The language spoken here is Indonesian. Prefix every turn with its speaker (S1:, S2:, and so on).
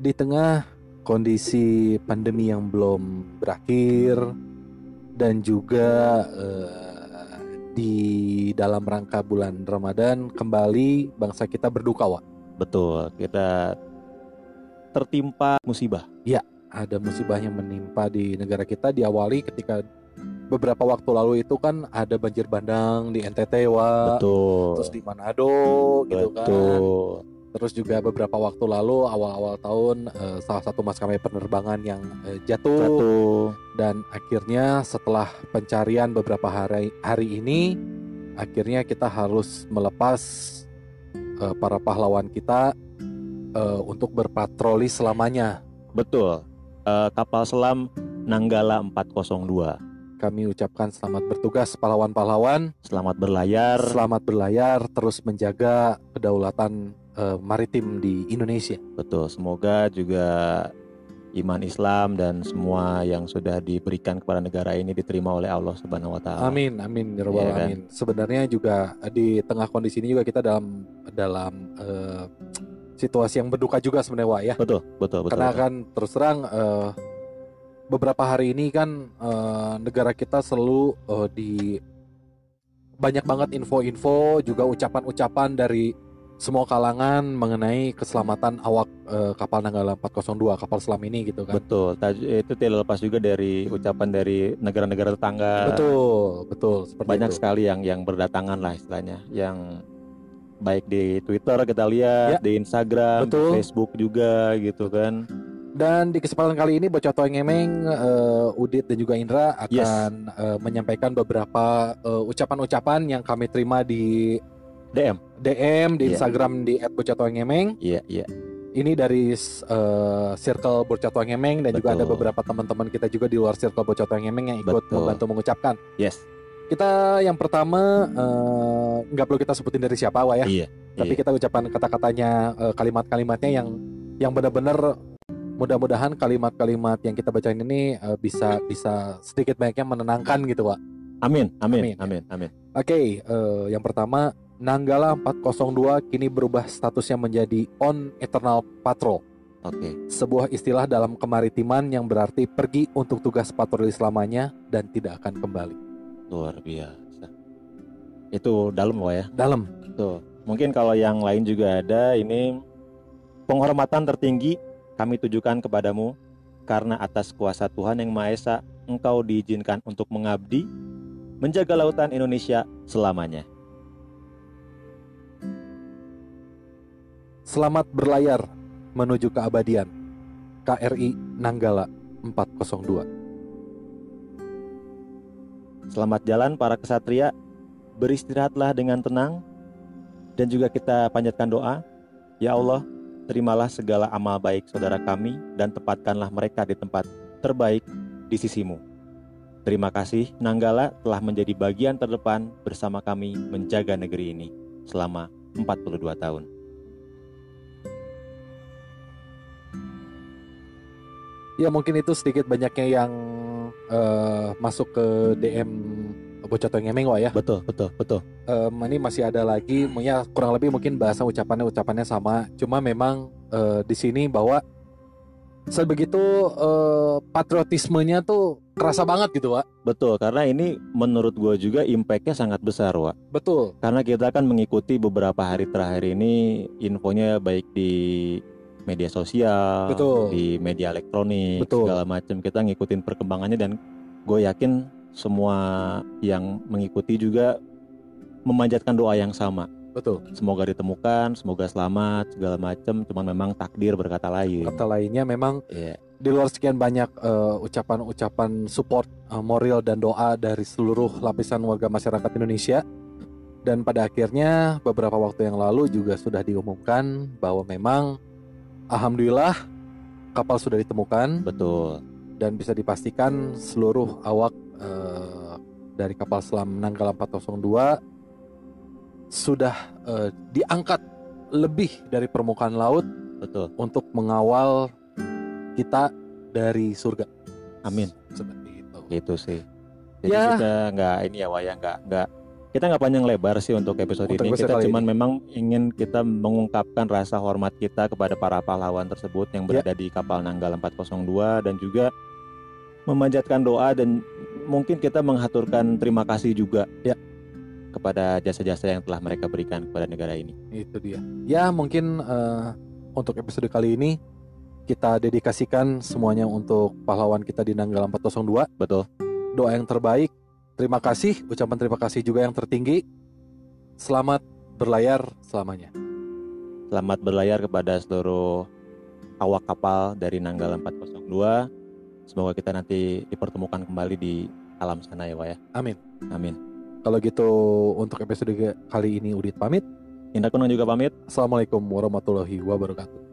S1: di tengah kondisi pandemi yang belum berakhir dan juga eh, di dalam rangka bulan Ramadan kembali bangsa kita berduka Wak.
S2: Betul, kita tertimpa musibah.
S1: Ada musibah yang menimpa di negara kita diawali ketika beberapa waktu lalu itu kan ada banjir bandang di NTT Wak.
S2: Betul.
S1: Eh, Terus di Manado gitu kan.
S2: Betul.
S1: Terus juga beberapa waktu lalu awal-awal tahun eh, salah satu maskapai penerbangan yang eh, jatuh
S2: Satu.
S1: dan akhirnya setelah pencarian beberapa hari hari ini akhirnya kita harus melepas eh, para pahlawan kita eh, untuk berpatroli selamanya.
S2: Betul. Eh, kapal selam Nanggala 402.
S1: Kami ucapkan selamat bertugas pahlawan-pahlawan,
S2: Selamat berlayar.
S1: selamat berlayar, terus menjaga kedaulatan eh, maritim di Indonesia.
S2: Betul. Semoga juga iman Islam dan semua yang sudah diberikan kepada negara ini diterima oleh Allah Subhanahu wa taala.
S1: Amin, amin, ya Rabbal
S2: Ah. Iya kan?
S1: alamin. Sebenarnya juga eh, di tengah kondisi ini juga kita dalam dalam eh, situasi yang berduka juga sebenarnya Wak ya.
S2: Betul, betul, betul.
S1: Karena kan terus terang eh, beberapa hari ini kan eh, negara kita selalu eh, di banyak banget info-info juga ucapan-ucapan dari semua kalangan mengenai keselamatan awak eh, kapal Nanggala 402 kapal selam ini gitu kan.
S2: Betul. Taj- Itu tidak lepas juga dari ucapan dari negara-negara tetangga.
S1: Betul, betul seperti
S2: banyak
S1: itu.
S2: sekali yang yang berdatangan lah istilahnya yang baik di Twitter kita lihat di Instagram di
S1: Ya. betul.
S2: Facebook juga gitu kan
S1: Dan di kesempatan kali ini Bocah Toy Ngemeng, eh, Udit dan juga Indra akan
S2: Yes.
S1: eh, menyampaikan beberapa eh, ucapan-ucapan yang kami terima di
S2: DM
S1: DM di
S2: Iya.
S1: Instagram di @bocatongemeng.
S2: iya iya
S1: Ini dari eh, circle Bocah Toy Ngemeng dan juga
S2: Betul.
S1: ada beberapa teman-teman kita juga di luar circle Bocah Toy Ngemeng yang ikut
S2: Betul.
S1: membantu mengucapkan.
S2: yes
S1: Kita yang pertama eh, nggak perlu kita sebutin dari siapa Wak ya.
S2: Iya,
S1: Tapi kita ucapkan kata-katanya eh, kalimat-kalimatnya yang yang benar-benar mudah-mudahan kalimat-kalimat yang kita bacain ini eh, bisa bisa sedikit banyaknya menenangkan gitu Wak.
S2: amin
S1: Amin.
S2: amin amin amin
S1: Oke, eh, yang pertama Nanggala 402 kini berubah statusnya menjadi On Eternal Patrol,
S2: oke
S1: sebuah istilah dalam kemaritiman yang berarti pergi untuk tugas patroli selamanya dan tidak akan kembali.
S2: luar biasa itu dalam loh ya
S1: Dalam.
S2: tuh mungkin kalau yang lain juga ada ini penghormatan tertinggi kami tujukan kepadamu karena atas kuasa Tuhan yang Maha Esa engkau diizinkan untuk mengabdi menjaga lautan Indonesia selamanya
S1: Selamat berlayar menuju keabadian. KRI Nanggala 402.
S2: Selamat jalan para kesatria. Beristirahatlah dengan tenang dan juga kita panjatkan doa. Ya Allah, terimalah segala amal baik saudara kami dan tempatkanlah mereka di tempat terbaik di sisimu. Terima kasih Nanggala telah menjadi bagian terdepan bersama kami menjaga negeri ini selama 42 tahun.
S1: Ya mungkin itu sedikit banyaknya yang eh, masuk ke DM Bocah Toy Ngemeng Wak ya.
S2: Betul, betul, betul.
S1: Em, ini masih ada lagi, ya kurang lebih mungkin bahasa ucapannya ucapannya sama. Cuma memang eh, di sini bahwa sebegitu eh, patriotismenya tuh kerasa banget gitu Wak.
S2: Betul, karena ini menurut gue juga impact-nya sangat besar, Wak.
S1: Betul.
S2: Karena kita kan mengikuti beberapa hari terakhir ini infonya baik di media sosial,
S1: Betul.
S2: di media elektronik,
S1: Betul.
S2: segala macam kita ngikutin perkembangannya dan gue yakin semua yang mengikuti juga memanjatkan doa yang sama.
S1: Betul.
S2: Semoga ditemukan, semoga selamat, segala macam. Cuman memang takdir berkata lain.
S1: Kata lainnya memang
S2: Iya,
S1: di luar sekian banyak eh, ucapan-ucapan support eh, moral dan doa dari seluruh lapisan warga masyarakat Indonesia dan pada akhirnya beberapa waktu yang lalu juga sudah diumumkan bahwa memang alhamdulillah kapal sudah ditemukan
S2: betul.
S1: dan bisa dipastikan seluruh awak eh, dari kapal selam Nanggala 402 sudah eh, diangkat lebih dari permukaan laut
S2: Betul.
S1: untuk mengawal kita dari surga.
S2: Amin.
S1: Seperti itu.
S2: Gitu sih. Jadi
S1: Ya.
S2: kita nggak ini ya wayang nggak nggak Kita nggak panjang lebar sih untuk episode
S1: Untuk
S2: ini.
S1: episode
S2: Kita
S1: kali
S2: cuman memang ingin kita mengungkapkan rasa hormat kita kepada para pahlawan tersebut yang
S1: Ya.
S2: berada di kapal Nanggal 402 dan juga memanjatkan doa dan mungkin kita menghaturkan terima kasih juga
S1: Ya.
S2: kepada jasa-jasa yang telah mereka berikan kepada negara ini.
S1: Itu dia. Ya mungkin eh, untuk episode kali ini kita dedikasikan semuanya untuk pahlawan kita di Nanggala 402.
S2: Betul.
S1: Doa yang terbaik. Terima kasih. Ucapan terima kasih juga yang tertinggi. Selamat berlayar selamanya.
S2: Selamat berlayar kepada seluruh awak kapal dari Nanggal 402. Semoga kita nanti dipertemukan kembali di alam sana ya, Pak ya.
S1: Amin.
S2: Amin.
S1: Kalau gitu untuk episode kali ini Udit pamit.
S2: Indra Kunung juga pamit.
S1: Assalamualaikum warahmatullahi wabarakatuh.